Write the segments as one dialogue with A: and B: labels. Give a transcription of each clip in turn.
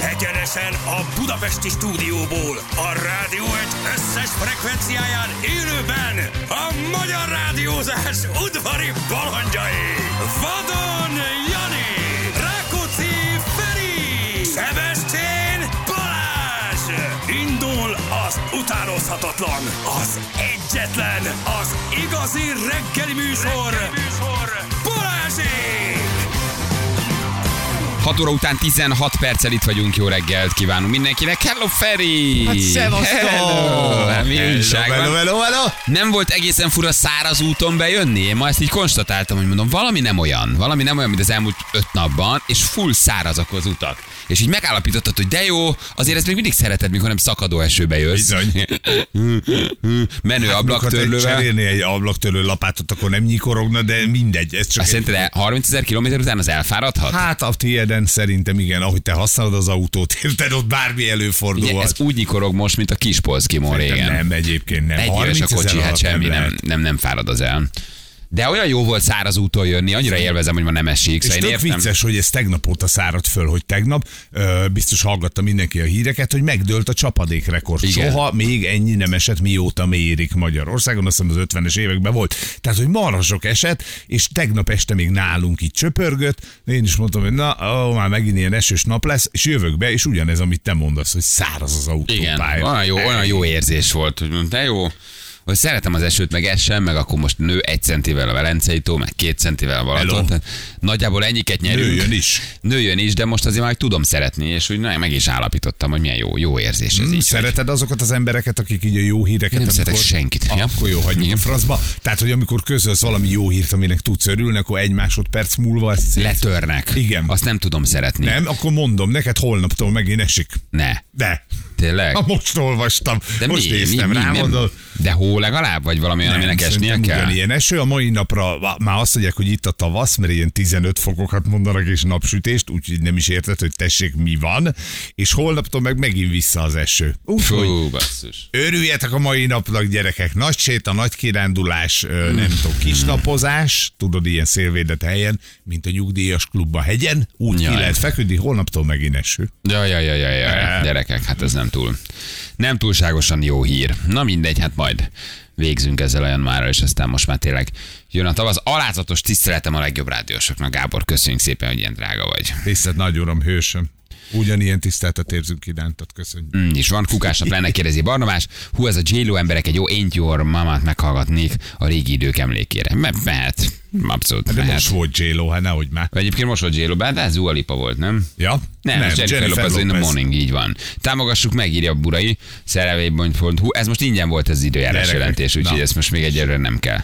A: Élősen a Budapesti stúdióból, a rádió egy összes frekvenciáján élőben a magyar rádiózás udvari balandjai. Vadon Jani, Rákóczi Feri, Szebestén Balázs! Indul az utánozhatatlan, az egyetlen, az igazi reggeli műsor, reggeli műsor. Balázsék!
B: 6 óra után 16 perccel itt vagyunk, jó reggelt kívánunk mindenkinek. Hello Feri!
C: Hát szevasztok!
B: Hello! Hát Mi újság van?
D: Hello, hello, hello!
B: Nem volt egészen fura száraz úton bejönni? Én ma ezt így konstatáltam, hogy mondom, valami nem olyan, valami nem olyan, mint az elmúlt öt napban, és full szárazak az utak. És így megállapítottad, hogy de jó, azért ezt még mindig szereted, mikor nem szakadó esőbe jössz.
D: Bizony.
B: Menő
D: Ablaktörlővel.
B: ablaktörlővel.
D: Cserélni egy ablaktörlő lapátot, akkor nem nyikorogna, de mindegy. Ez csak
B: Azt
D: egy...
B: szerinted el- 30 ezer kilométer után az elfáradhat?
D: Hát a tiéden szerintem igen, ahogy te használod az autót, érted, ott bármi
B: Igen, ez
D: előfordulhat.
B: úgy nyikorog most, mint a kis polszkimon régen.
D: nem, egyébként nem.
B: Egy éves a
D: 30 000
B: kocsi, hát
D: alatt
B: semmi nem,
D: lehet.
B: nem, nem fárad az el. De olyan jó volt száraz úton jönni, annyira élvezem, hogy ma nem esik.
D: És
B: Szóval én
D: tök
B: értem.
D: vicces, hogy ez tegnap óta szárad föl, hogy tegnap ö, biztos hallgatta mindenki a híreket, hogy megdőlt a csapadékrekord.
B: Igen.
D: Soha még ennyi nem esett, mióta mérik Magyarországon, azt hiszem az 50-es években volt. Tehát, hogy marha sok esett, és tegnap este még nálunk itt csöpörgött, én is mondtam, hogy na, ó, már megint ilyen esős nap lesz, és jövök be, és ugyanez, amit te mondasz, hogy száraz az
B: Igen,
D: autópálya.
B: olyan jó, olyan jó érzés volt, hogy mondom, de jó, hogy szeretem az esőt, meg essen, meg akkor most nő egy centivel a Velencei tó, meg két centivel a Balaton.
D: Hello.
B: Tehát nagyjából ennyiket nyerünk.
D: Nőjön is.
B: Nőjön is, de most azért már tudom szeretni, és úgy na, meg is állapítottam, hogy milyen jó, jó érzés ez
D: Mm,
B: így.
D: Szereted azokat az embereket, akik így a jó híreket...
B: Én nem szeretek senkit.
D: Ah,
B: Ja.
D: Akkor jó, hagyjuk
B: Igen.
D: a francba. Tehát, hogy amikor közölsz valami jó hírt, aminek tudsz örülni, akkor egy másodperc múlva ezt szét-
B: Letörnek.
D: Igen.
B: Azt nem tudom szeretni.
D: Nem, akkor mondom, neked holnaptól megint esik.
B: Ne.
D: De.
B: Tényleg?
D: Ha most olvastam,
B: De
D: most
B: mi,
D: néztem
B: mi, mi,
D: rá,
B: nem-
D: mondom.
B: De hó legalább, vagy valami olyan, aminek esnie
D: szerintem
B: kell?
D: Ugyanilyen eső, a mai napra va- már azt mondják, hogy itt a tavasz, mert ilyen 15 fokokat mondanak és napsütést, úgyhogy nem is érted, hogy tessék mi van, és holnaptól meg megint vissza az eső. Úgyhogy
B: Fú, basszus.
D: Örüljetek a mai napnak, gyerekek! Nagy séta, nagy kirándulás, ö, nem tudom, kisnapozás, tudod, ilyen szélvédett helyen, mint a nyugdíjas klubba hegyen, úgy
B: Jaj.
D: ki lehet feküdni, holnaptól megint eső.
B: Ja, ja, ja, ja, ja, gyerekek, hát ez nem túl. Nem túlságosan jó hír. Na mindegy, hát majd végzünk ezzel olyan mára, és aztán most már tényleg jön a tavasz. Alázatos tiszteletem a legjobb rádiósoknak, Gábor, köszönjük szépen, hogy ilyen drága vagy.
D: Tisztelt nagy uram, hősöm! Ugyanilyen tiszteletet érzünk irántad, köszönjük.
B: Mm, és van kukásnak lenne, kérdezi Barnabás. Hú, ez a j emberek egy jó Ain't Your Mamát meghallgatnék a régi idők emlékére. Me- mehet. Abszolút
D: De most
B: mehet.
D: volt j hát nehogy már.
B: Egyébként most volt j de ez Dua Lipa volt, nem?
D: Ja?
B: Nem, nem Jennifer, Jennifer Lopez, in the morning, így van. Támogassuk meg, írja a burai, szerevébony.hu. Ez most ingyen volt az időjárás
D: Gyerekek,
B: jelentés, úgyhogy
D: na.
B: ezt most még egyelőre nem kell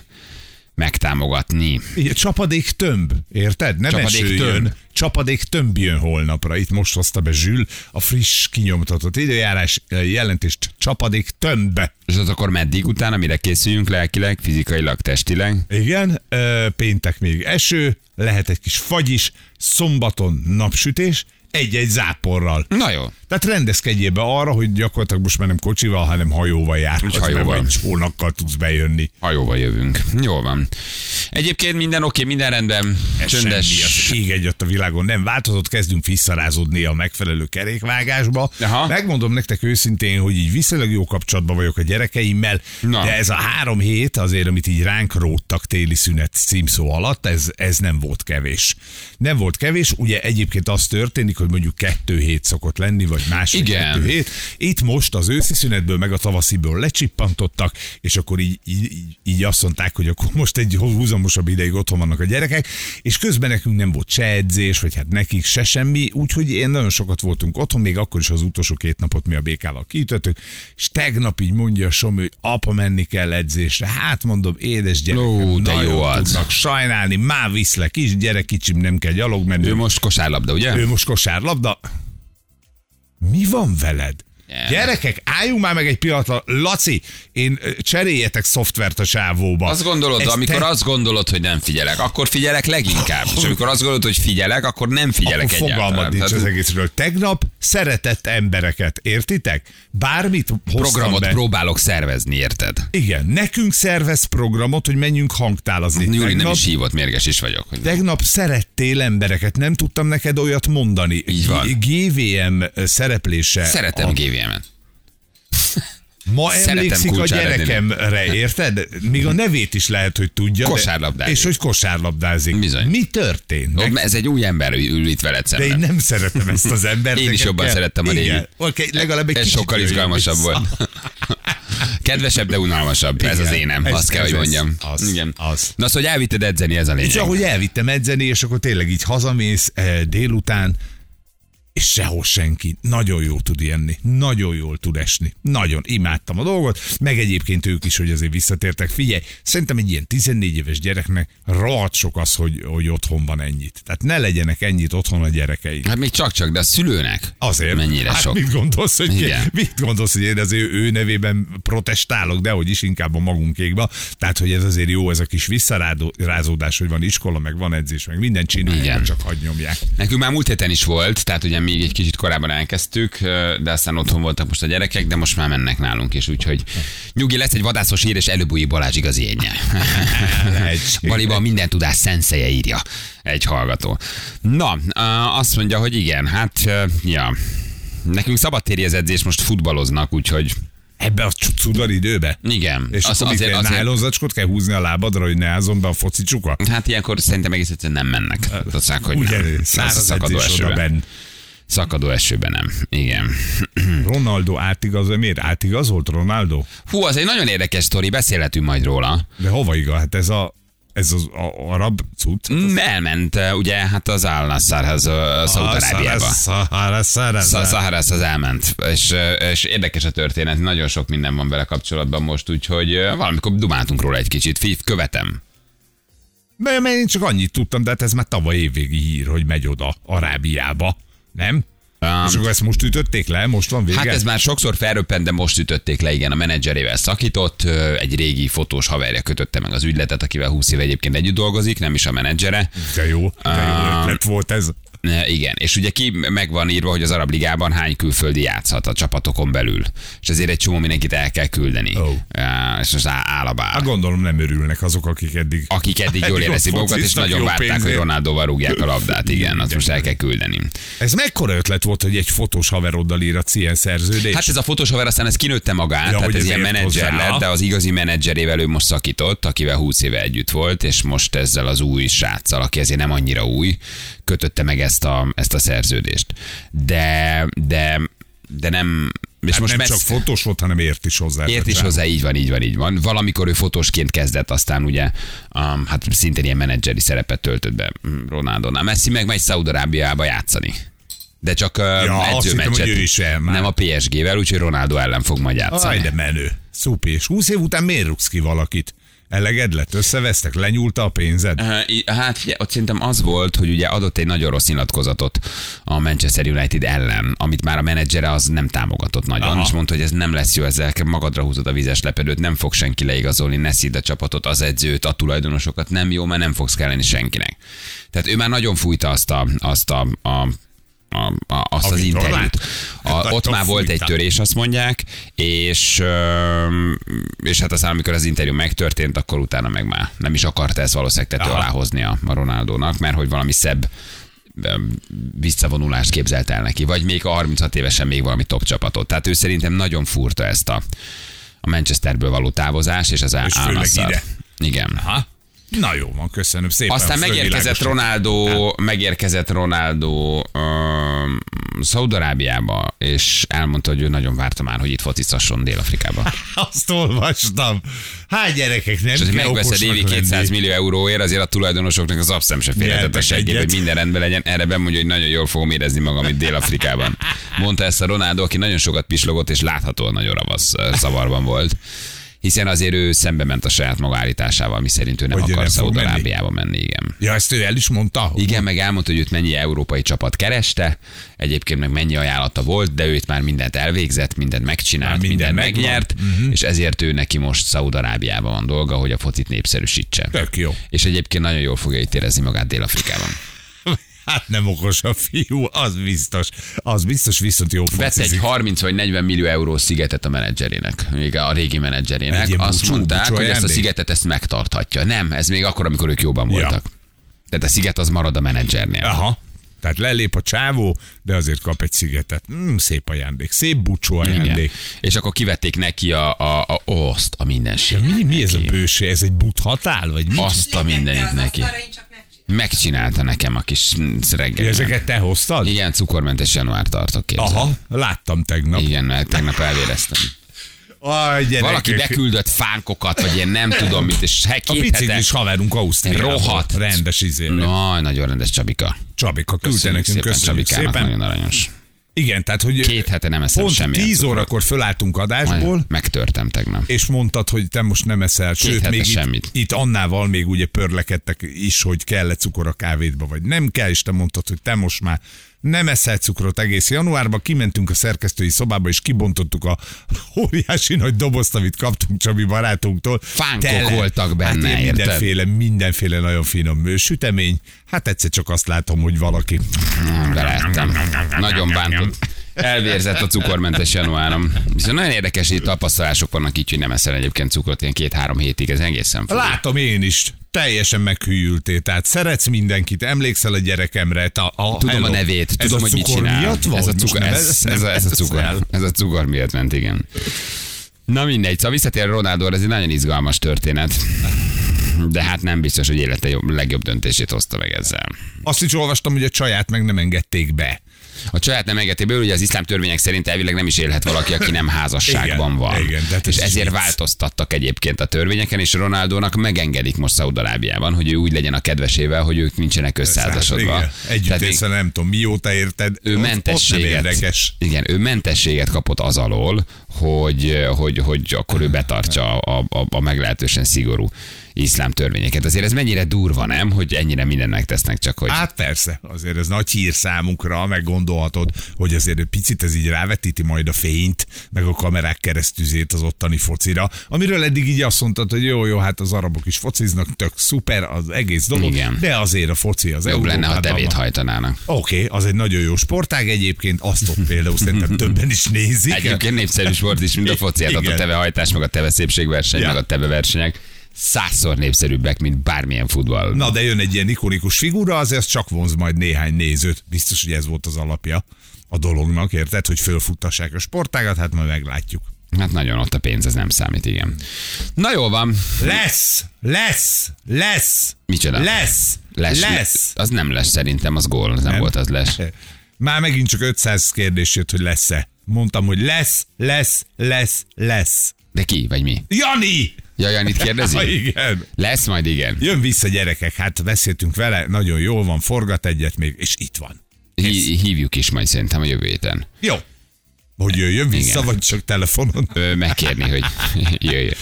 B: megtámogatni.
D: Igen, csapadék tömb, érted? Nem
B: Csapadék
D: csapadék esőjön.
B: tömb.
D: Tömb. Csapadék tömb jön holnapra. Itt most hozta be Zsül a friss kinyomtatott időjárás eh, jelentést. Csapadék tömb.
B: És az akkor meddig utána, mire készüljünk lelkileg, fizikailag, testileg?
D: Igen, ö, péntek még eső, lehet egy kis fagy is, szombaton napsütés, egy-egy záporral.
B: Na jó.
D: Tehát rendezkedjél be arra, hogy gyakorlatilag most már nem kocsival, hanem hajóval járhatsz,
B: Úgy hajóval.
D: mert vagy csónakkal tudsz bejönni.
B: Hajóval jövünk. Jó van. Egyébként minden oké, minden rendben.
D: Semmi
B: Csöndes.
D: az ég egyet a világon nem változott, kezdünk visszarázódni a megfelelő kerékvágásba.
B: Aha.
D: Megmondom nektek őszintén, hogy így viszonylag jó kapcsolatban vagyok a gyerekeimmel,
B: Na.
D: Na. de ez a három hét azért, amit így ránk róttak téli szünet címszó alatt, ez, ez nem volt kevés. Nem volt kevés, ugye egyébként az történik, hogy mondjuk kettő hét szokott lenni, vagy másfél
B: Igen.
D: kettő hét. Itt most az őszi szünetből, meg a tavasziből lecsippantottak, és akkor így, így, így- így azt mondták, hogy akkor most egy húzamosabb ideig otthon vannak a gyerekek, és közben nekünk nem volt se edzés, vagy hát nekik se semmi, úgyhogy én nagyon sokat voltunk otthon, még akkor is az utolsó két napot mi a békával kiütöttük, és tegnap így mondja a Somi, hogy apa menni kell edzésre. Hát mondom, édes gyerekem,
B: Ó, de
D: nagyon
B: jó az.
D: tudnak sajnálni, már viszlek is, gyerek kicsim, nem kell gyalog menni.
B: Ő most kosárlabda, ugye?
D: Ő most kosárlabda. Mi van veled?
B: Nem.
D: Gyerekek, álljunk már meg egy pillanatra. Laci, én ö, cseréljetek szoftvert a sávóba.
B: Azt gondolod,
D: Ez
B: amikor
D: te-
B: azt gondolod, hogy nem figyelek, akkor figyelek leginkább. És amikor azt gondolod, hogy figyelek, akkor nem figyelek
D: akkor fogalmad
B: egyáltalán.
D: nincs
B: Tehát
D: az egészről. Tegnap szeretett embereket, értitek? Bármit hoztam
B: programot
D: be.
B: próbálok szervezni, érted?
D: Igen, nekünk szervez programot, hogy menjünk hangtálazni.
B: Júli nem
D: Tegnap-
B: is hívott, mérges is vagyok. Hogy
D: Tegnap szerettél embereket, nem tudtam neked olyat mondani.
B: Így van.
D: G- GVM szereplése.
B: Szeretem
D: a...
B: GVM-et.
D: Ma
B: szeretem
D: emlékszik a
B: Kulcsár
D: gyerekemre, érted? Még a nevét is lehet, hogy tudja. de-
B: Kosárlabdázik.
D: És hogy kosárlabdázik.
B: Bizony.
D: Mi történt?
B: Ott Ez egy új ember ül itt veled
D: De
B: szemben.
D: én nem szeretem ezt az embert.
B: Én is
D: nekem
B: jobban
D: kell-
B: szerettem a
D: Igen.
B: régit.
D: Okay, legalább egy
B: Ez
D: kicsit
B: sokkal
D: jöjjön
B: izgalmasabb
D: vissza.
B: volt. Kedvesebb, de unalmasabb. Ez
D: Igen.
B: az énem.
D: Ez-
B: Azt kell,
D: ez
B: hogy
D: az.
B: mondjam.
D: Az.
B: Igen.
D: Az.
B: Na, azt, hogy elvitted edzeni, ez a
D: És
B: lényeg.
D: ahogy elvittem edzeni, és akkor tényleg így hazamész eh, délután, és sehol senki. Nagyon jól tud enni, nagyon jól tud esni. Nagyon imádtam a dolgot, meg egyébként ők is, hogy azért visszatértek. Figyelj, szerintem egy ilyen 14 éves gyereknek rohadt sok az, hogy, hogy otthon van ennyit. Tehát ne legyenek ennyit otthon a gyerekeik.
B: Hát még csak-csak, de a szülőnek.
D: Azért.
B: Mennyire
D: hát
B: sok.
D: Mit gondolsz, hogy
B: Igen.
D: mit gondolsz, hogy én az ő, ő nevében protestálok, de hogy is inkább a magunkékba. Tehát, hogy ez azért jó, ez a kis visszarázódás, hogy van iskola, meg van edzés, meg minden csinálják,
B: Igen.
D: csak hagynyomják.
B: Nekünk már múlt héten is volt, tehát ugye még egy kicsit korábban elkezdtük, ö, de aztán otthon voltak most a gyerekek, de most már mennek nálunk is, úgyhogy nyugi lesz egy vadászos hír, és előbúji Balázs igazi énje.
D: Lehetséges.
B: Baliba a minden tudás szenszeje írja egy hallgató. Na, ö, azt mondja, hogy igen, hát ö, ja. Nekünk szabadtéri az edzés, most futballoznak, úgyhogy
D: Ebbe a csu- cudar időbe?
B: igen.
D: És
B: Azt-
D: azt akkor azért, azért... nájlonzacskot kell húzni a lábadra, hogy ne állzon be a foci csuka?
B: Hát ilyenkor szerintem egész egyszerűen nem mennek. Tudszák, hogy
D: Ugye,
B: Száz
D: száraz edzés oda benn.
B: Szakadó esőben nem. Igen. Hm.
D: Ronaldo átigaz, miért átigazolt Ronaldo?
B: Hú, az egy nagyon érdekes sztori, beszélhetünk majd róla.
D: De hova igaz? Hát ez a ez az a, arab cucc?
B: Mm, Elment, eh, ugye, hát az Al Nassarhez, Szaúd-Arábiába.
D: Szahara, szahara, szahara.
B: Szahárász az elment, és, eh, és érdekes a történet, nagyon sok minden van vele kapcsolatban most, úgyhogy eh, valamikor dumáltunk róla egy kicsit, Fi- követem.
D: Mert mert én csak annyit tudtam, de hát ez már tavaly évvégi hír, hogy megy oda Arábiába, nem?
B: Um,
D: És akkor ezt most ütötték le, most van vége?
B: Hát ez már sokszor felröppent, de most ütötték le, igen, a menedzserével szakított, ö, egy régi fotós haverja kötötte meg az ügyletet, akivel 20 éve egyébként együtt dolgozik, nem is a menedzsere.
D: De jó, de jó
B: Ám.
D: ötlet volt ez.
B: E, Igen, és ugye ki meg van írva, hogy az arab ligában hány külföldi játszhat a csapatokon belül, és ezért egy csomó mindenkit el kell küldeni.
D: Ó.
B: E, És most á- állabál.
D: Hát gondolom nem örülnek azok, akik eddig...
B: Akik eddig jól érezik
D: ott
B: magukat, és
D: fociztak jó
B: nagyon várták, hogy
D: pénzért.
B: Ronaldóval rúgják a labdát. Igen, azt most el kell küldeni.
D: Ez mekkora ötlet volt, hogy egy fotós haveroddal íratsz ilyen szerződést?
B: Hát ez a fotós haver aztán ez kinőtte magát, ja, tehát
D: hogy
B: ez ilyen
D: ezért
B: menedzser
D: hozzá.
B: lett, de az igazi menedzserével ő most szakított, akivel 20 éve együtt volt, és most ezzel az új sráccal, aki azért nem annyira új, kötötte meg ezt a, ezt a szerződést. De, de, de nem... És
D: hát most nem csak fotós volt, hanem ért is hozzá.
B: Ért is hozzá, így van, így van, így van. Valamikor ő fotósként kezdett, aztán ugye um, hát szintén ilyen menedzseri szerepet töltött be mm, Ronaldonál. Messi meg megy Szaudarábiába játszani. De csak
D: Ja,
B: ja,
D: azt hittem,
B: edzőmeccset.
D: hogy ő is elment.
B: nem a PSG-vel, úgyhogy Ronaldo ellen fog majd játszani.
D: Aj, de menő. Szupi, és 20 év után miért rúgsz ki valakit? Eleged lett, összevesztek, lenyúlta a pénzed?
B: Ö, í- Hát ugye, ott szerintem az volt, hogy ugye adott egy nagyon rossz nyilatkozatot a Manchester United ellen, amit már a menedzsere az nem támogatott nagyon,
D: Aha.
B: Aha. és mondta, hogy ez nem lesz jó, ezzel kell magadra húzod a vizes lepedőt, nem fog senki leigazolni, ne szíd a csapatot, az edzőt, a tulajdonosokat, nem jó, mert nem fogsz kelleni senkinek. Tehát ő már nagyon fújta azt a, azt a, a a, a, azt az
D: Amit
B: interjút.
D: Ronald? Hát
B: A, ott
D: nagyon
B: már volt egy
D: fújta.
B: törés, azt mondják, és, öm, és hát aztán, amikor az interjú megtörtént, akkor utána meg már nem is akarta ezt valószínűleg tető
D: Aha.
B: alá hozni a a Ronaldónak, mert hogy valami szebb öm, visszavonulást képzelt el neki, vagy még a 36 évesen még valami top csapatot. Tehát ő szerintem nagyon furta ezt a, a Manchesterből való távozás, és az Al-
D: És főleg
B: Al Nassr.
D: ide.
B: Igen.
D: Aha. Na jó van, köszönöm szépen.
B: Aztán
D: az
B: megérkezett
D: fölvilágosítás.
B: Ronaldo,
D: Hát.
B: megérkezett Ronaldo öm, Szaudarábiába, és elmondta, hogy ő nagyon várta már, hogy itt focizasson
D: Hát,
B: Dél-Afrikába.
D: Azt olvastam. Hát gyerekek, nem
B: És hogy
D: kell
B: megveszed
D: okosnak
B: évi
D: lenni.
B: 200 millió euróért, azért a tulajdonosoknak az abszem se félhetett a
D: Nyertek
B: seggét,
D: egyet.
B: hogy minden rendben legyen. Erre bemondja, hogy nagyon jól fogom érezni magam itt Dél-Afrikában. Mondta ezt a Ronaldo, aki nagyon sokat pislogott, és láthatóan nagyon ravasz eh, zavarban volt. hiszen azért ő szembe ment a saját maga állításával, mi szerint ő nem
D: Hogy ő
B: akar
D: nem fog
B: Szaúd-Arábiába menni, igen.
D: Ja, ezt ő el is mondta? hogy
B: Igen, meg elmondta, hogy őt mennyi európai csapat kereste, egyébként meg mennyi ajánlata volt, de ő itt már mindent elvégzett, mindent megcsinált,
D: Már
B: minden
D: minden
B: mindent
D: megvan. Mhm.
B: megnyert, uh-huh. és ezért ő neki most Szaúd-Arábiában van dolga, hogy a focit népszerűsítse.
D: Tök jó.
B: És egyébként nagyon jól fogja itt érezni magát Dél-Afrikában.
D: Hát nem okos a fiú, az biztos. Az biztos, viszont jó
B: Vett egy
D: focizik.
B: 30 vagy 40 millió euró szigetet a menedzserének, még a régi menedzserének.
D: Egy ilyen
B: Azt
D: búcsú-
B: mondták,
D: búcsú
B: hogy ezt a
D: ajándék?
B: szigetet ezt megtarthatja. Nem, ez még akkor, amikor ők jobban
D: Ja.
B: voltak. Tehát a sziget az marad a menedzsernél.
D: Aha. Tehát lelép a csávó, de azért kap egy szigetet. Mm, szép ajándék, szép bucsó
B: Igen.
D: ajándék.
B: És akkor kivették neki a, a, a oszt, a mindenség.
D: Mi, mi ez a bőség? Ez egy buthatál, vagy mi?
B: Azt a mindenit neki. Megcsinálta nekem a kis reggel.
D: Ezeket te hoztad?
B: Igen, cukormentes január tartok képzel.
D: Aha, láttam tegnap.
B: Igen, mert tegnap elvéreztem.
D: Aj, gyerekek.
B: Valaki beküldött fánkokat, vagy én nem tudom mit, és he-
D: A
B: két hete...
D: biciklis haverunk Ausztriából.
B: Rohadt.
D: Rendes izé.
B: Aj, nagyon rendes Csabika.
D: Csabika küldte
B: Köszönjük
D: nekünk,
B: szépen
D: köszönjük
B: Csabikának,
D: szépen.
B: nagyon aranyos.
D: Igen, tehát hogy
B: Két hete nem eszem
D: pont
B: semmilyen
D: 10
B: cukrot.
D: órakor fölálltunk adásból,
B: Majd Megtörtem tegnap.
D: és mondtad, hogy te most nem eszel, sőt,
B: hete
D: még
B: semmit.
D: itt, itt annával még ugye pörlekedtek is, hogy kell-e cukor a kávédba, vagy nem kell, és te mondtad, hogy te most már nem eszel cukrot egész januárban, kimentünk a szerkesztői szobába, és kibontottuk a óriási nagy dobozt, amit kaptunk Csabi barátunktól.
B: Fánkok
D: Tele-
B: voltak benne,
D: hát ilyen
B: érted?
D: mindenféle, mindenféle nagyon finom sütemény. Hát egyszer csak azt látom, hogy valaki
B: Nem, Beleettem. Nagyon bántott. Elvérzett a cukormentes januárom. Viszont nagyon érdekes, hogy tapasztalások vannak így, hogy nem eszel egyébként cukrot ilyen két-három hétig, ez egészen fura.
D: Látom én is. Teljesen meghűültél. Tehát szeretsz mindenkit, emlékszel a gyerekemre. Te, a, a,
B: Tudom
D: hello.
B: a nevét,
D: ez
B: tudom,
D: a
B: hogy mit
D: cukor
B: csinál.
D: Miatt van?
B: Ez a
D: Most
B: cukor,
D: nem
B: ez,
D: nem
B: ez, a, ez a cukor,
D: eszel.
B: ez a cukor miatt ment, igen. Na mindegy, szóval visszatér Ronaldo, ez egy nagyon izgalmas történet. De hát nem biztos, hogy élete jobb, legjobb döntését hozta meg ezzel.
D: Azt is olvastam, hogy a csaját meg nem engedték be.
B: A család nem engedéből, ugye az iszlám törvények szerint elvileg nem is élhet valaki, aki nem házasságban
D: Igen,
B: van.
D: igen, de hát ez
B: és
D: is
B: ezért
D: vicc.
B: változtattak egyébként a törvényeken, és Ronaldónak megengedik most Szaudarábiában, hogy ő úgy legyen a kedvesével, hogy ők nincsenek összeházasodva.
D: hát Igen. Együtt
B: Tehát még-
D: észre nem tudom, mióta érted.
B: ő
D: Ott-
B: mentességet,
D: Ott nem érdekes.
B: Igen, ő mentességet kapott az alól, hogy, hogy, hogy akkor ő betartsa a, a, a meglehetősen szigorú iszlám törvényeket. Azért ez mennyire durva, nem? Hogy ennyire mindent megtesznek, csak hogy...
D: Hát persze, azért ez nagy hír számunkra, meg gondolhatod, hogy azért egy picit ez így rávetíti majd a fényt, meg a kamerák keresztüzét az ottani focira, amiről eddig így azt mondtad, hogy jó, jó, hát az arabok is fociznak, tök szuper az egész dolog,
B: Igen.
D: de azért a foci az
B: Jobb lenne, ha
D: Európában
B: tevét
D: van.
B: hajtanának.
D: Oké, az egy nagyon jó sportág egyébként, azt ott például szerintem többen is nézik.
B: Egyébként népszerű sport is, mint a foci, hát ott a
D: Igen.
B: teve hajtás, meg a teve szépségverseny,
D: Ja.
B: meg a teve versenyek százszor népszerűbbek, mint bármilyen futball.
D: Na, de jön egy ilyen ikonikus figura, azért az csak vonz majd néhány nézőt. Biztos, hogy ez volt az alapja a dolognak, érted, hogy fölfuttassák a sportágat, hát majd meglátjuk.
B: Hát nagyon ott a pénz, ez nem számít, igen. Na jó van.
D: Lesz, lesz, lesz.
B: Micsoda?
D: Lesz,
B: Lesz.
D: lesz. lesz.
B: Az nem lesz szerintem, az gól, az nem, nem. volt, az lesz.
D: Már megint csak 500 kérdés jött, hogy lesz-e. Mondtam, hogy lesz, lesz, lesz, lesz.
B: De ki, vagy mi?
D: Jani!
B: Ja, Janit
D: Ha
B: kérdezi?
D: igen.
B: Lesz majd, igen.
D: Jön vissza gyerekek, hát beszéltünk vele, nagyon jól van, forgat egyet még, és itt van.
B: Hí- hívjuk is majd szerintem a jövő héten.
D: Jó. Hogy jöjjön vissza,
B: Igen.
D: vagy csak telefonon?
B: Ö, megkérni, hogy jöjjön.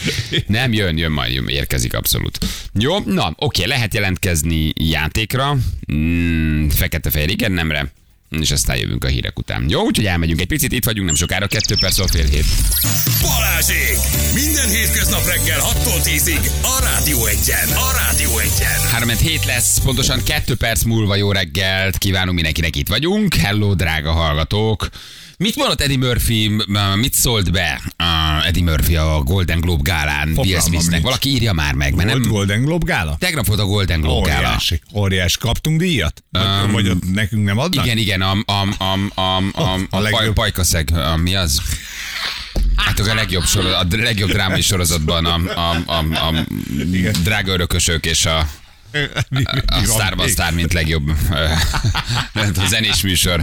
B: Nem jön, jön majd, jön, érkezik abszolút. Jó, na, oké, lehet jelentkezni játékra, mm, fekete-fehér igennemre, és aztán jövünk a hírek után. Jó, úgyhogy elmegyünk egy picit, itt vagyunk nem sokára, kettő perc, a fél hét.
A: Balázsék! Minden hétköznap reggel 6-tól 10-ig a Rádió Egyen! A Rádió Egyen!
B: 3 hét lesz, pontosan kettő perc múlva jó reggelt kívánunk mindenkinek, itt vagyunk. Hello, drága hallgatók! Mit mondott Eddie Murphy, m- m- mit szólt be uh, Eddie Murphy a Golden Globe gálán Will
D: Fogalmam
B: Smithnek?
D: nincs.
B: Valaki írja már meg, mert
D: Volt
B: nem...
D: Golden Globe gála?
B: Tegnap volt a Golden Globe gála.
D: Óriási. Óriás. Kaptunk díjat? Um, vagy ott nekünk nem adnak?
B: Igen, igen, a, a, a, a, a,
D: A
B: a, a
D: legjobb.
B: pajkaszeg, a, mi az? Hát a legjobb, sorozat, a d- legjobb drámai sorozatban a, a, a, a, a drága örökösök és a,
D: Mi- mi
B: a
D: van
B: Starban
D: még?
B: Star, mint legjobb ö, a zenés műsor.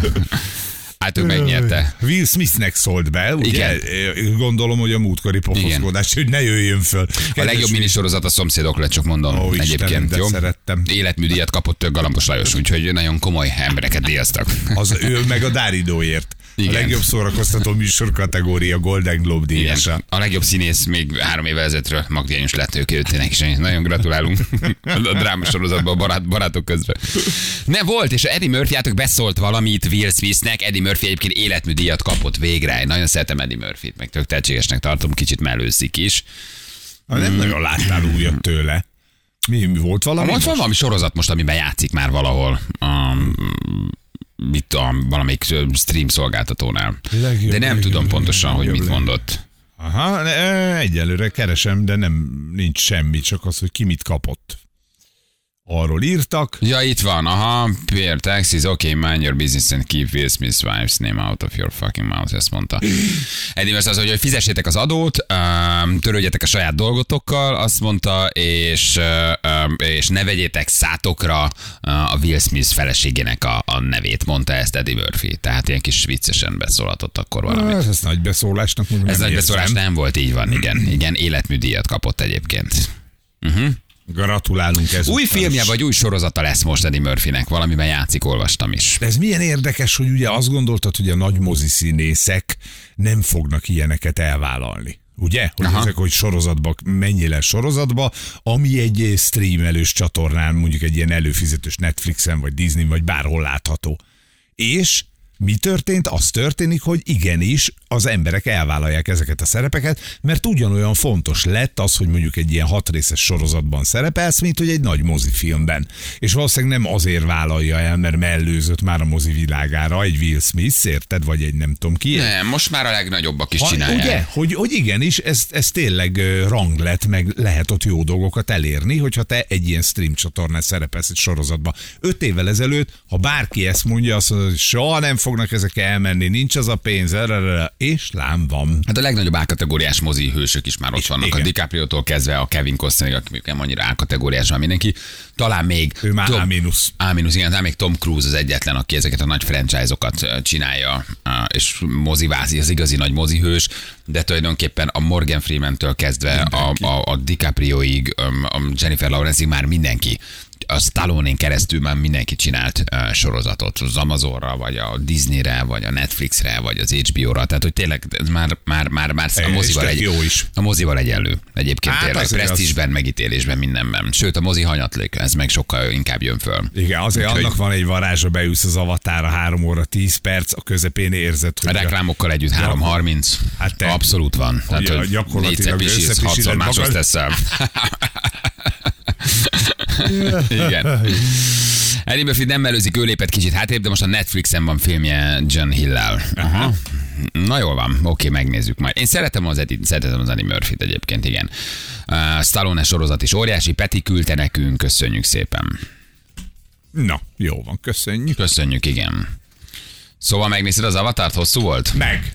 B: Hát ő megnyerte.
D: Will Smithnek szólt be, ugye? Igen. Gondolom, hogy a múltkori pofoszkodás, hogy ne jöjjön föl.
B: A
D: Kedves
B: legjobb
D: Will-
B: minisorozat a szomszédok lett, csak mondom
D: Ó, Istenem,
B: egyébként.
D: de
B: jó?
D: szerettem.
B: Életműdíjat kapott Galambos Lajos, úgyhogy nagyon komoly embereket díjaztak.
D: Az ő meg a Dáridóért.
B: Igen.
D: A legjobb szórakoztató műsor kategória Golden Globe
B: Igen.
D: díjasa.
B: A legjobb színész még három évvel ezelőttről, Magdi János lett ők őtének is. Nagyon gratulálunk a dráma sorozatban a barát, barátok közben. Nem volt, és Eddie Murphy átok beszólt valamit Will Smithnek. Eddie Murphy egyébként életműdíjat kapott végre. Én nagyon szeretem Eddie Murphy-t, meg tök tehetségesnek tartom, kicsit mellőszik is. Mm.
D: Ha nem nagyon láttál újat tőle. Mi, mi volt valami?
B: Most van
D: most?
B: valami sorozat most, amiben játszik már valahol. Um, mit tudom, valamelyik ö, stream szolgáltatónál.
D: Legjobb,
B: De nem
D: legjobb,
B: tudom pontosan, hogy
D: legjobb,
B: mit
D: legjobb.
B: mondott.
D: Aha, ne, ö, egyelőre keresem, de nem nincs semmi, csak az, hogy ki mit kapott. Arról írtak.
B: Ja, itt van, aha, Pierre Taxis, okay, mind your business and keep Will Smith's wife's name out of your fucking mouth, ezt mondta. Eddie Murphy az, hogy fizessétek az adót, öm, törődjetek a saját dolgotokkal, azt mondta, és, öm, és ne vegyétek szátokra ö, a Will Smith feleségének a, a nevét, mondta ezt Eddie Murphy. Tehát ilyen kis viccesen beszólatott akkor valamit.
D: Hát Ez, ez nagy beszólásnak mondom.
B: Ez
D: nem
B: nagy
D: érzem.
B: beszólás nem volt, így van, igen. Igen, életműdíjat kapott egyébként.
D: Gratulálunk ez.
B: Új filmje vagy új sorozata lesz most Eddie Murphynek, valamiben játszik, olvastam is.
D: De ez milyen érdekes, hogy ugye azt gondoltad, hogy a nagy moziszínészek nem fognak ilyeneket elvállalni. Ugye? Hogy Aha. ezek, hogy sorozatba, mennyi lesz sorozatba, ami egy streamelős csatornán, mondjuk egy ilyen előfizetős Netflixen, vagy Disney, vagy bárhol látható. És mi történt? Az történik, hogy igenis az emberek elvállalják ezeket a szerepeket, mert ugyanolyan fontos lett az, hogy mondjuk egy ilyen hatrészes sorozatban szerepelsz, mint hogy egy nagy mozifilmben. És valószínűleg nem azért vállalja el, mert mellőzött már a mozi világára egy Will Smith, érted? Vagy egy nem tudom ki.
B: Nem, most már a legnagyobbak is
D: Ha-
B: csinálják.
D: Ugye?
B: Ugye?
D: Hogy, hogy igenis, ez, ez tényleg ö, rang lett, meg lehet ott jó dolgokat elérni, hogyha te egy ilyen stream csatornán szerepelsz egy sorozatba. Öt évvel ezelőtt, ha bárki ezt mondja, azt mondja, hogy soha nem fognak ezek elmenni, nincs az a pénz, erre, és lám van.
B: Hát a legnagyobb A-kategóriás mozi hősök is már ott vannak. Igen.
D: igen.
B: A DiCaprio-tól kezdve a Kevin Costnerig, aki mondjuk nem annyira A-kategóriás van mindenki. Talán még...
D: Ő már A mínusz.
B: A mínusz, igen, talán még Tom Cruise az egyetlen, aki ezeket a nagy franchise-okat ö, csinálja, ö, és mozivázi, az igazi nagy mozihős, de tulajdonképpen a Morgan Freeman-től kezdve a, a, a DiCaprio-ig, öm, a Jennifer Lawrence-ig már mindenki a stallone keresztül már mindenki csinált ö, sorozatot, az Amazonra, vagy a Disneyre, vagy a Netflixre, vagy az HBO-ra, tehát hogy tényleg ez már, már, már, már a
D: És
B: mozival,
D: tök
B: egy,
D: jó is.
B: a mozival egyenlő egyébként
D: Hát
B: hát tényleg,
D: azért az-
B: presztízsben, megítélésben, mindenben. Sőt, a mozi hanyatlék, ez meg sokkal inkább jön föl.
D: Igen,
B: Úgyhogy-
D: azért Úgyhogy... annak van egy varázsa, beülsz az avatára 3 óra 10 perc, a közepén érzed,
B: A
D: hogy
B: reklámokkal együtt 3.30.
D: Hát te-
B: Abszolút van. Tehát,
D: Ugye,
B: hogy
D: gyakorlatilag
B: négyszer pisilsz,
D: összepisiled
B: hatszor
D: magad.
B: máshoz teszel. Igen. Eddie Murphy nem előzik, ő lépett kicsit hátrébb, de most a Netflixen van filmje John Hillel. Aha. Na jól van, oké, megnézzük majd. Én szeretem az, Eddie, szeretem az Eddie Murphy-t egyébként, igen. Uh, Stallone sorozat is óriási, Peti küldte nekünk, köszönjük szépen.
D: Na, jó van, köszönjük.
B: Köszönjük, igen. Szóval megnézted az avatart, hosszú volt?
D: Meg.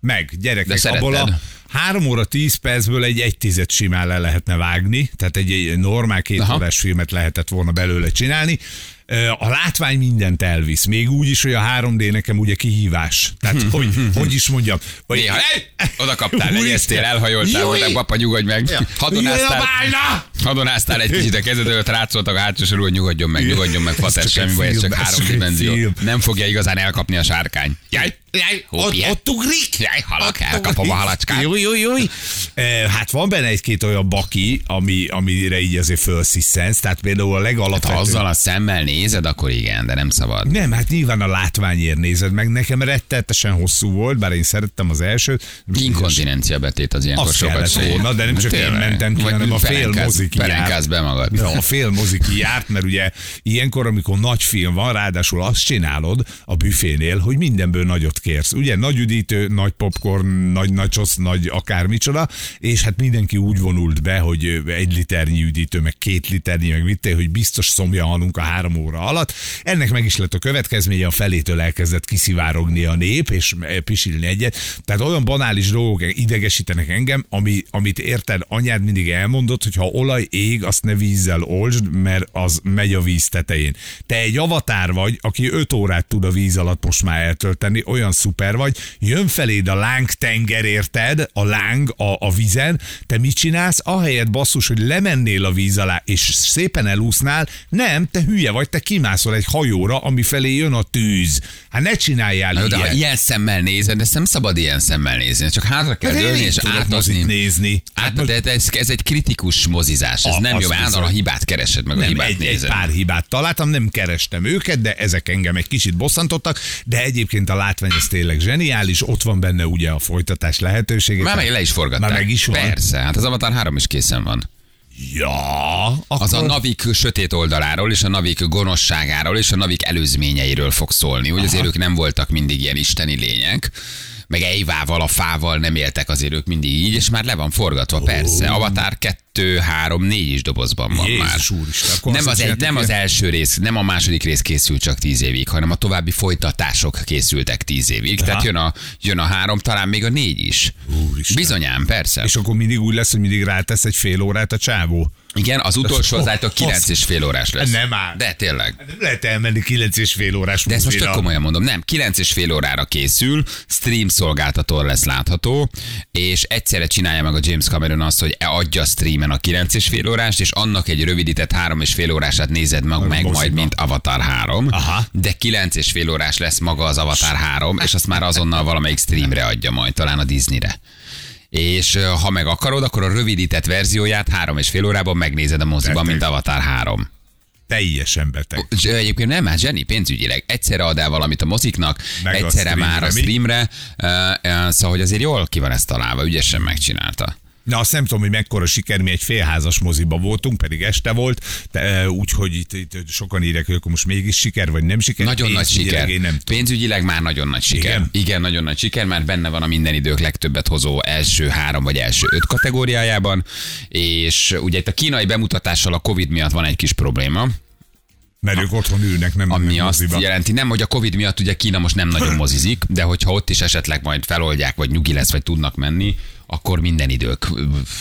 D: Meg,
B: De
D: gyerekek,
B: szereted.
D: abból a 3 óra 10 percből egy egy tized simán le lehetne vágni, tehát egy, egy normál két
B: Aha.
D: órás filmet lehetett volna belőle csinálni. Ö, A látvány mindent elvisz, még úgy is, hogy a 3D nekem ugye kihívás. Tehát, hogy, hogy is mondjam. Vagy,
B: Néha, Ej! oda kaptál, legyeztél, elhajoltál,
D: Júj!
B: mondták, papa, nyugodj meg. Ja.
D: Jöjjön a
B: Hadonáztál,
D: bálna!
B: hadonáztál egy kicsit a kezed előtt, rátszoltak a hátsó sorú, hogy nyugodjon meg, nyugodjon meg,
D: Ez
B: fater,
D: csak
B: semmi
D: egy
B: baj, ez
D: film,
B: csak
D: ez
B: három
D: csak egy
B: dimenzió.
D: film.
B: Nem fogja igazán elkapni a sárkány. Jaj, jaj,
D: Ott,
B: hopi,
D: ott ugrik!
B: jaj, halak, elkapom a halacskát.
D: Jó, jó, jó. Hát van benne egy-két olyan baki, ami, amire így azért felsziszensz, tehát például a
B: Ha
D: legalapvetőbb.
B: azzal a szemmel nézed, akkor igen, de nem szabad.
D: Nem, hát nyilván a látványért nézed meg. Nekem rettetesen hosszú volt, bár én szerettem az elsőt.
B: Inkontinencia betét az ilyenkor
D: Azt
B: sokat
D: kellett
B: segít.
D: volna, de nem csak én
B: Tényleg.
D: mentem ki,
B: Vagy
D: hanem a fél
B: felenkáz-
D: mozi kijárt.
B: felenkáz be magad.
D: Ja, a fél mozi kijárt, mert ugye ilyenkor, amikor nagy film van, ráadásul azt csinálod a büfénél, hogy mindenből nagyot kérsz. Ugye nagy üdítő, nagy popcorn, nagy nachos, nagy akármicsoda, és hát mindenki úgy vonult be, hogy egy liternyi üdítő, meg két liternyi, meg mit, te, hogy biztos szomja halunk a három óra alatt. Ennek meg is lett a következménye, a felétől elkezdett kiszivárogni a nép, és eh, pisilni egyet. Tehát olyan banális dolgok idegesítenek engem, ami, amit érted, anyád mindig elmondott, hogy ha olaj ég, azt ne vízzel olcsd, mert az megy a víz tetején. Te egy avatár vagy, aki 5 órát tud a víz alatt most már eltölteni, olyan szuper vagy, jön feléd a láng tenger, érted, a a láng a, a vizen, te mit csinálsz? Ahelyett basszus, hogy lemennél a víz alá, és szépen elúsznál, nem, te hülye vagy, te kimászol egy hajóra, ami felé jön a tűz. Hát ne csináljál
B: Na,
D: ilyet.
B: de ha ilyen szemmel nézed, ezt nem szabad ilyen szemmel nézni, csak hátra kell
D: Hát én
B: dőlni
D: így
B: és
D: tudok
B: átadni.
D: mozit nézni.
B: Hát,
D: most
B: de ez, ez egy kritikus mozizás, ez
D: A-
B: nem
D: azt
B: jó, mert állandóan a
D: bizony.
B: hibát keresed, meg a
D: nem,
B: hibát
D: egy, egy
B: nézed.
D: pár hibát találtam, nem kerestem őket, de ezek engem egy kicsit bosszantottak, de egyébként a látvány ez tényleg zseniális, ott van benne ugye a folytatás lehetősége.
B: Már meg le is forgatták.
D: Már meg is van.
B: Persze, hát az Avatar 3 is készen van.
D: Ja, akkor...
B: Az a Navik sötét oldaláról, és a Navik gonoszságáról, és a Navik előzményeiről fog szólni, hogy azért ők nem voltak mindig ilyen isteni lények, meg Eivával, a fával nem éltek azért ők mindig így, és már le van forgatva, persze. Avatar 2, 3, 4 is dobozban van
D: Jézus
B: már.
D: úristen, akkor
B: nem
D: azt
B: az,
D: is
B: egy, nem
D: csináltak
B: az első rész, nem a második rész készült csak 10 évig, hanem a további folytatások készültek 10 évig. Tehát jön a, jön a három, talán még a négy is.
D: Úristen.
B: Bizonyám, persze.
D: És akkor mindig úgy lesz, hogy mindig rátesz egy fél órát a csávó.
B: Igen, az utolsó az
D: Oh,
B: által 9
D: azt-
B: és fél órás lesz.
D: Nem áll.
B: De tényleg.
D: Hát Nem lehet elmenni 9 és fél órás
B: De ezt most tök
D: mozira.
B: komolyan mondom, nem, 9 és fél órára készül, stream szolgáltatón lesz látható, és egyszerre csinálja meg a James Cameron azt, hogy e adja streamen a 9 és fél órást, és annak egy rövidített 3 és fél órását nézed meg, meg
D: moziba.
B: majd, mint Avatar 3,
D: Aha.
B: de 9 és fél órás lesz maga az Avatar 3, és azt már azonnal valamelyik streamre adja majd, talán a Disneyre. És ö, ha meg akarod, akkor a rövidített verzióját három és fél órában megnézed a moziban,
D: Beteg.
B: mint Avatar 3.
D: Teljesen beteg.
B: És Egyébként nem, hát zseni pénzügyileg. Egyszerre ad el valamit a moziknak,
D: Meg a
B: egyszerre
D: streamre,
B: már a
D: mi?
B: streamre, ö, ö, szóval hogy azért jól ki van ezt találva, ügyesen megcsinálta.
D: Na azt nem tudom, hogy mekkora siker, mi egy félházas moziba voltunk, pedig este volt, de, e, úgyhogy itt, itt, sokan írják, hogy akkor most mégis siker, vagy nem siker.
B: Nagyon nagy
D: Pénzügyileg
B: siker.
D: Én nem
B: Pénzügyileg már nagyon nagy siker.
D: Igen?
B: Igen? Igen, nagyon nagy siker, mert benne van a minden idők legtöbbet hozó első három vagy első öt kategóriájában, és ugye itt a kínai bemutatással a Covid miatt van egy kis probléma,
D: Mert ők otthon ülnek, nem
B: ami
D: mennek
B: azt
D: moziba.
B: jelenti, nem, hogy a Covid miatt ugye Kína most nem nagyon mozizik, de hogyha ott is esetleg majd feloldják, vagy nyugi lesz, vagy tudnak menni, akkor minden idők,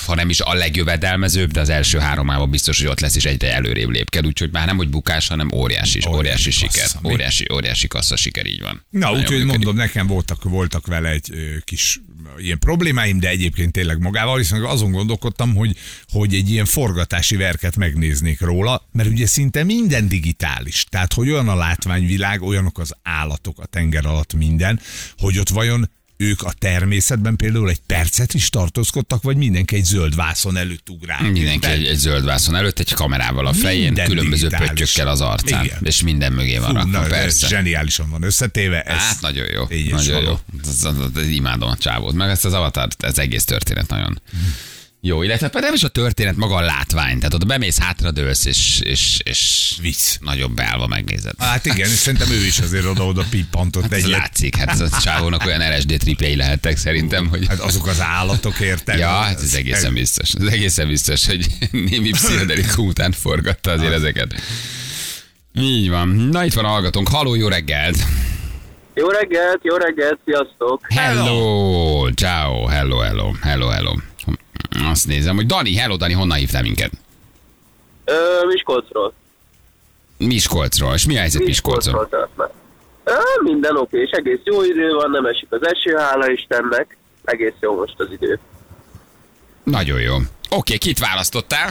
B: ha nem is a legjövedelmezőbb, de az első háromában biztos, hogy ott lesz, és egyre előrébb lépked. Úgyhogy már nem, hogy bukás, hanem óriási, óriási,
D: Óriási
B: óriási siker.
D: kassza, mi?
B: Óriási, óriási kassza siker, így van.
D: Na,
B: Nagyon
D: úgyhogy
B: működik.
D: mondom, nekem voltak, voltak vele egy ö, kis ö, ilyen problémáim, de egyébként tényleg magával, hiszen azon gondolkodtam, hogy, hogy egy ilyen forgatási verket megnéznék róla, mert ugye szinte minden digitális, tehát hogy olyan a látványvilág, olyanok az állatok, a tenger alatt minden, hogy ott vajon ők a természetben például egy percet is tartózkodtak, vagy mindenki egy zöld vászon előtt ugrál.
B: Mindenki egy, egy zöld vászon előtt, egy kamerával a fején,
D: Minden
B: különböző
D: digitális.
B: pöttyökkel az arcán,
D: Igen.
B: és minden mögé van
D: Fú,
B: rakva,
D: na,
B: persze.
D: ez zseniálisan van összetéve. Ez,
B: Hát nagyon jó.
D: Így is
B: nagyon jó.
D: való.
B: Az, az, az, imádom a csávót. Meg ezt az avatar, ez egész történet nagyon. Jó, illetve pedig nem is a történet, maga a látvány. Tehát ott bemész, hátradőlsz, és, és, és
D: Vicc.
B: nagyon beállva megnézed.
D: Hát igen, és szerintem ő is azért oda-oda pippantott
B: Ez
D: egyet.
B: látszik, hát ez a csávónak olyan LSD tripjei lehettek szerintem, hogy...
D: Hát azok az állatok érted?
B: Ja, hát ez egészen biztos. Ez egészen biztos, hogy némi pszichedelikum után forgatta azért ezeket. Így van. Na itt van a hallgatónk. Haló, jó reggelt!
C: Jó reggelt, jó reggelt, sziasztok!
B: Hello! Ciao, hello, hello, hello, hello. Azt nézem, hogy Dani, hello Dani, honnan hívtál minket?
C: Ö, Miskolcról.
B: Miskolcról. És mi a helyzet Miskolcról?
C: tehát már. Ö, minden oké, és egész jó idő van, nem esik az eső, hála Istennek. Egész jó most az idő.
B: Nagyon jó. Oké, okay, kit választottál?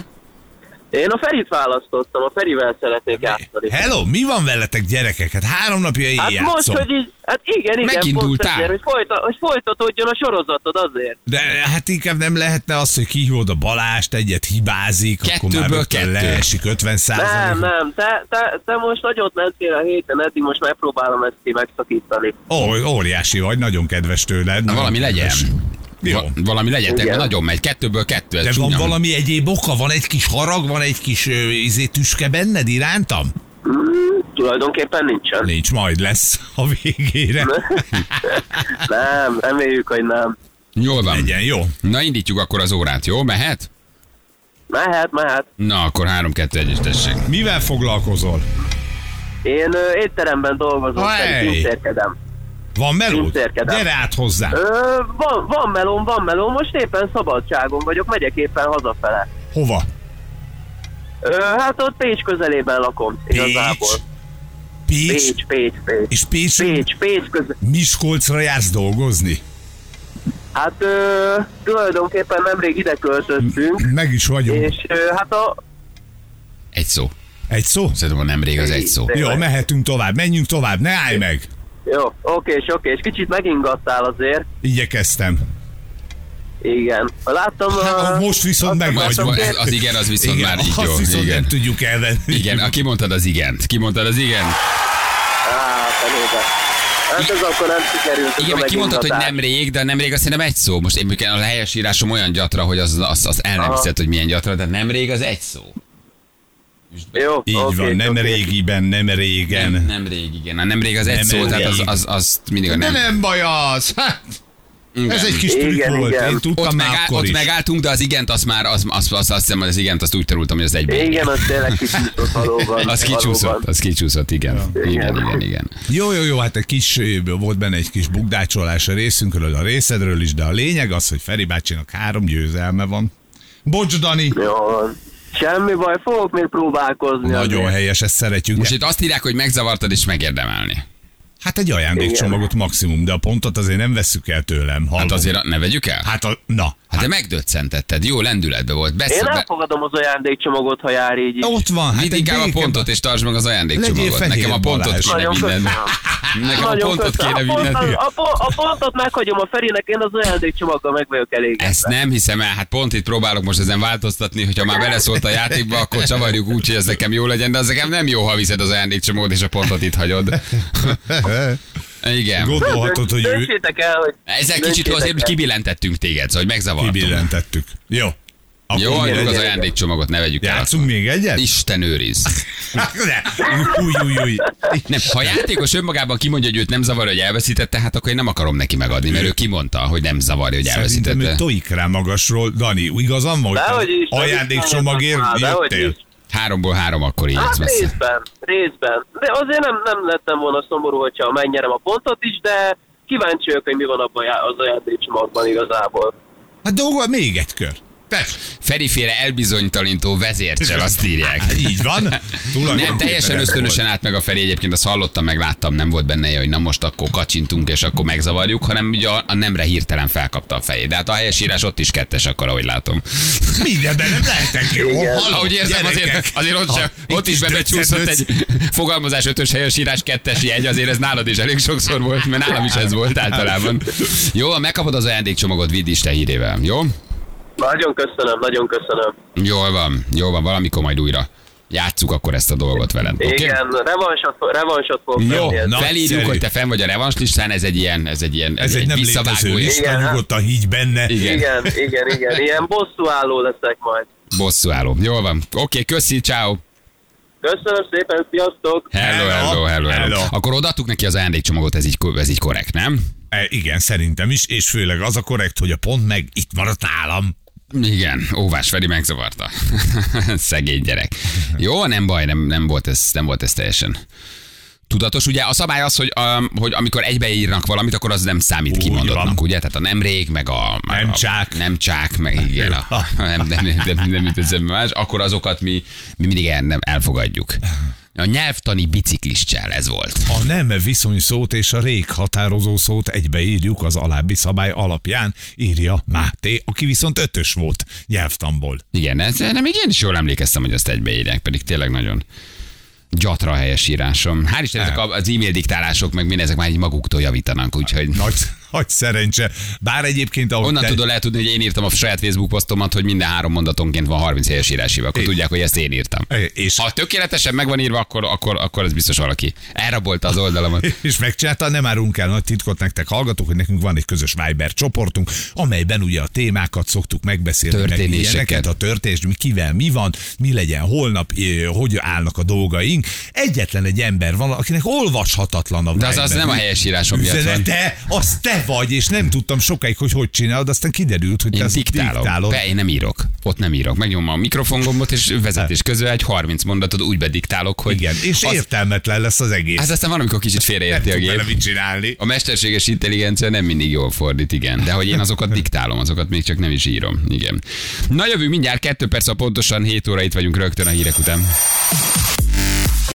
C: Én a Ferit választottam, a Ferivel szeretnék játszani.
D: Hello, mi van veletek gyerekek? Hát három napja én
C: Hát
D: játszom.
C: most, hogy így, hát igen, igen, pont
B: Megindultál?
C: ezért, hogy, folyta, hogy folytatódjon a sorozatod azért.
D: De hát inkább nem lehetne az, hogy kihívod a Balást, egyet hibázik, akkor már
B: Kettőből
D: rögtön
B: kettő.
D: leesik 50
C: Nem,
D: százalék.
C: nem, te, te, te most nagyot mentél a héten, eddig most megpróbálom ezt így megszakítani.
D: Ó, óriási vagy, nagyon kedves tőled.
B: Na,
D: Nagyon
B: valami legyen.
D: kedves. Jó.
B: Va- valami legyen, te
C: Igen.
B: nagyon megy. Kettőből kettő. ez
D: De van
B: csúnya.
D: valami egyéb oka? Van egy kis harag, van egy kis ö, izé, tüske benned irántam?
C: Mm, tulajdonképpen nincsen.
D: Nincs, majd lesz a végére.
C: nem, reméljük, hogy nem.
B: Jól van.
D: Legyen, jó?
B: Na indítjuk akkor az órát, jó? Mehet?
C: Mehet, mehet.
B: Na, akkor 3-2-1-es tessék.
D: Mivel foglalkozol?
C: Én ö, étteremben dolgozom,
D: Hey!
C: pedig pincérkedem.
D: Van melód?
C: Pincérkedem.
D: Gyere át hozzá.
C: Ö, van, van melóm, van melóm, most éppen szabadságon vagyok, megyek éppen hazafele.
D: Hova?
C: Ö, hát ott Pécs közelében lakom, igazából.
D: Pécs?
C: Pécs, Pécs, Pécs.
D: És Pécs,
C: Pécs, Pécs közel.
D: Miskolcra jársz dolgozni?
C: Hát ö, tulajdonképpen nemrég ide költöztünk,
D: Meg is vagyunk.
C: és ö, hát a...
B: Egy szó.
D: Egy szó?
B: Szerintem nemrég az egy szó.
D: Jó, mehetünk tovább, menjünk tovább, ne állj meg!
C: Jó, oké, és oké, és kicsit megingattál azért.
D: Igyekeztem.
C: Igen. Láttam a...
D: Hát, Most viszont meg
B: Most
D: vagyunk.
B: ez- az igen, az viszont már így
D: azt
B: jó.
D: viszont
B: Igen.
D: nem tudjuk elvenni.
B: Igen, a, kimondtad az igent. Kimondtad az igent.
C: Á, fenébe. Hát ez akkor nem sikerült. ez
B: Igen,
C: a
B: mert kimondtad, hogy
C: megingatás.
B: nem rég, de nem rég azt szerintem egy szó. Most én mondjuk a helyesírásom olyan gyatra, hogy az, az, az el nem
C: Aha.
B: hiszed, hogy milyen gyatra, de nem rég az egy szó.
C: Jó,
D: Így
C: oké,
D: van, nem
C: oké.
D: régiben, nem régen.
B: Nem, nem rég, igen. Hát Nem rég az egy
D: Nem
B: szó,
D: rég.
B: tehát az, az, az mindig a
D: De
B: nem.
D: nem baj az! Hát,
B: Igen.
D: ez egy kis trükk
C: Igen,
D: volt,
C: igen.
D: én
B: ott,
D: tudtam már
B: megáll,
D: akkor
B: ott
D: is.
B: megálltunk, de az igent azt már, az, az, az, azt hiszem, hogy az igent azt úgy tanultam, hogy az egyben.
C: Igen, az tényleg kicsúszott valóban.
B: Az kicsúszott,
C: valóban.
B: az kicsúszott, igen. Igen, igen, igen.
D: Jó, jó, jó, hát egy kis, ö, volt benne egy kis bukdácsolás a részünkről, a részedről is, de a lényeg az, hogy Feri bácsinak három győzelme van. Bocs, Dani!
C: Jó van. Semmi baj, fogok még próbálkozni.
D: Nagyon
C: azért.
D: helyes, ezt szeretjük.
B: Most itt azt írják, hogy megzavartad és megérdemelni.
D: Hát egy ajándékcsomagot maximum, de a pontot azért nem vesszük el tőlem. Hallom.
B: Hát azért ne vegyük el?
D: Hát a, na,
B: Hát te megdöccentetted, jó lendületbe volt.
C: Én
B: Beszél,
C: elfogadom az ajándékcsomagot, ha jár így. is.
D: ott van. Hát
B: Hát
D: egy
B: inkább a
D: béke-
B: pontot, és tartsd meg az
D: Legyél
B: ajándékcsomagot.
D: fehér
B: Nekem a pontot
D: Balázs.
B: kéne
C: Nagyon
B: vinned.
C: köszönöm.
B: Nekem a pontot
C: köszönöm.
B: kéne
C: A
B: vinned.
C: pontot- A, po- a pontot meghagyom a Ferinek, én az ajándékcsomaggal meg vagyok elégedve.
B: Ezt nem hiszem el, hát pont itt próbálok most ezen változtatni, hogyha már beleszólt a játékba, akkor csavarjuk úgy, hogy ez nekem jó legyen, de az nekem nem jó, ha viszed az ajándékcsomót és a pontot itt hagyod. Igen.
D: Gondolhatod, hogy ő
C: Döntsétek el, hogy...
B: Ezzel kicsit
C: döntsétek
B: azért
C: el.
B: kibillentettünk téged, szóval hogy megzavartunk.
D: kibillentettük. Jó. Akkor
B: Jó,
D: mi
B: hagyjuk az
D: legyen?
B: ajándékcsomagot, ne vegyük el.
D: Játszunk még egyet? Hát
B: Isten őriz.
D: Ne. Új, új, új.
B: Nem, ha a játékos önmagában kimondja, hogy őt nem zavarja, hogy elveszítette, hát akkor én nem akarom neki megadni, mert ő kimondta, hogy nem zavarja, hogy
D: Szerintem ő
B: elveszítette.
D: tojik rá magasról. Dani, igazam van,
C: Dehogy
D: hogy
C: is.
D: te ajándékcsomagért
C: Már, dehogy
D: jöttél?
C: is.
B: Háromból három akkor így ez
C: Hát
B: messze.
C: részben, részben. De azért nem, nem lettem volna szomorú, hogyha megnyerem a pontot is, de kíváncsi vagyok, hogy mi van abban já- az ajándékcsomagban igazából.
D: Hát dolga még egy kör. Tess.
B: Feriféle elbizonytalanító vezércsel, azt írják.
D: Hát Így van.
B: Nem, teljesen ösztönösen állt meg a Feri egyébként, azt hallottam, meg láttam, nem volt benne, hogy na most akkor kacsintunk, és akkor megzavarjuk, hanem ugye a, a nemre hirtelen felkapta a fejét. De hát a helyesírás ott is kettes akar, ahogy látom.
D: Mindenben nem lehetek jó. hallom,
B: Ahogy érzem, azért,
D: gyerekek.
B: azért ott, sem,
D: Ha,
B: ott
D: itt
B: is bebecsúszott
D: döccenősz.
B: egy fogalmazás ötös helyes írás kettes jegy, azért ez nálad is elég sokszor volt, mert nálam is ez volt általában. Jó, ha megkapod az ajándékcsomagot, vidd Isten hírével, jó?
C: Nagyon köszönöm, nagyon köszönöm.
B: Jól van, jól van, valamikor majd újra játsszuk akkor ezt a dolgot veled. oké?
C: Igen, revansot, revansot fogok
B: Jó,
C: venni ezzel.
D: na.
B: felírjuk,
D: Nagyszerű.
B: hogy te fenn vagy a revans listán, ez egy ilyen, ez egy ilyen,
D: Ez egy nem létező
B: visszavágó és
C: lista.
D: lista,
C: Igen, hát.
D: nyugodtan higgy benne.
B: Igen.
C: Igen, igen, igen. Ilyen bosszúálló leszek majd.
B: bosszúálló. Jól van. Oké, okay, köszi, ciao.
C: Köszönöm szépen, sziasztok!
B: Hello, hello, hello, hello. Akkor odaadtuk neki az ajándékcsomagot, ez így, ez így korrekt, nem?
D: E, Igen, szerintem is, és főleg az a korrekt, hogy a pont meg itt maradt nálam.
B: Igen, óvás Feri megzavarta. Szegény gyerek. Jó, nem baj, nem, nem, volt, ez, nem volt ez teljesen tudatos. Ugye a szabály az, hogy, um, hogy amikor egybeírnak valamit, akkor az nem számít
D: Úgy
B: kimondottnak,
D: van.
B: ugye? Tehát a nemrég, meg a... meg
D: Nem
B: a-
D: csák.
B: Nem csák, meg igen, a, nem, nem, nem, nem, nem jut eszembe más, akkor azokat mi, mi mindig el, nem, elfogadjuk. A nyelvtani biciklistjel ez volt.
D: A nem viszony szót és a rég határozó szót egybeírjuk az alábbi szabály alapján, írja Máté, aki viszont ötös volt nyelvtamból.
B: Igen, ez, nem, így én is jól emlékeztem, hogy azt egybeírják, pedig tényleg nagyon gyatra helyes írásom. Hál' Istennek ezek a- az e-mail diktálások, meg mindezek már így maguktól javítanak, úgyhogy...
D: Hát, Nagy, nagy szerencse. Bár egyébként... ahogy
B: Onnan
D: te-
B: tudod lehet tudni, hogy én írtam a saját Facebook posztomat, hogy minden három mondatonként van 30 helyes írásiba, akkor
D: É.
B: tudják, hogy ezt én írtam.
D: E, És,
B: Ha tökéletesen meg van írva, akkor, akkor, akkor ez biztos valaki. Elrabolta az oldalamat.
D: és megcsinálta, nem árunk el nagy titkot nektek, hallgatók, hogy nekünk van egy közös Viber csoportunk, amelyben ugye a témákat szoktuk megbeszélni, meg
B: Történéseket.
D: ilyeneket, a történést, mi kivel mi van, mi legyen holnap, eh, hogy állnak a dolgaink. Egyetlen egy ember van, akinek olvashatatlan a
B: De az, az
D: Viber
B: nem a helyesírásom miatt van.
D: üzenete, az te vagy, és nem tudtam sokáig, hogy hogy csinálod, aztán kiderült, hogy te
B: Én
D: azt
B: diktálok.
D: diktálod.
B: Be, én nem írok. Ott nem írok. Megnyomom a mikrofongombot, és vezetés közben egy 30 mondatot úgy bediktálok, hogy...
D: Hát. Igen, és
B: az,
D: értelmetlen lesz az egész.
B: Hát aztán valamikor kicsit
D: nem
B: félreérti a
D: tudok vele
B: gép.
D: mit csinálni.
B: A mesterséges intelligencia nem mindig jól fordít, igen. De hogy én azokat diktálom, azokat még csak nem is írom. Igen. Na jövő mindjárt, kettő perc a pontosan, 7 óra itt vagyunk rögtön a hírek után.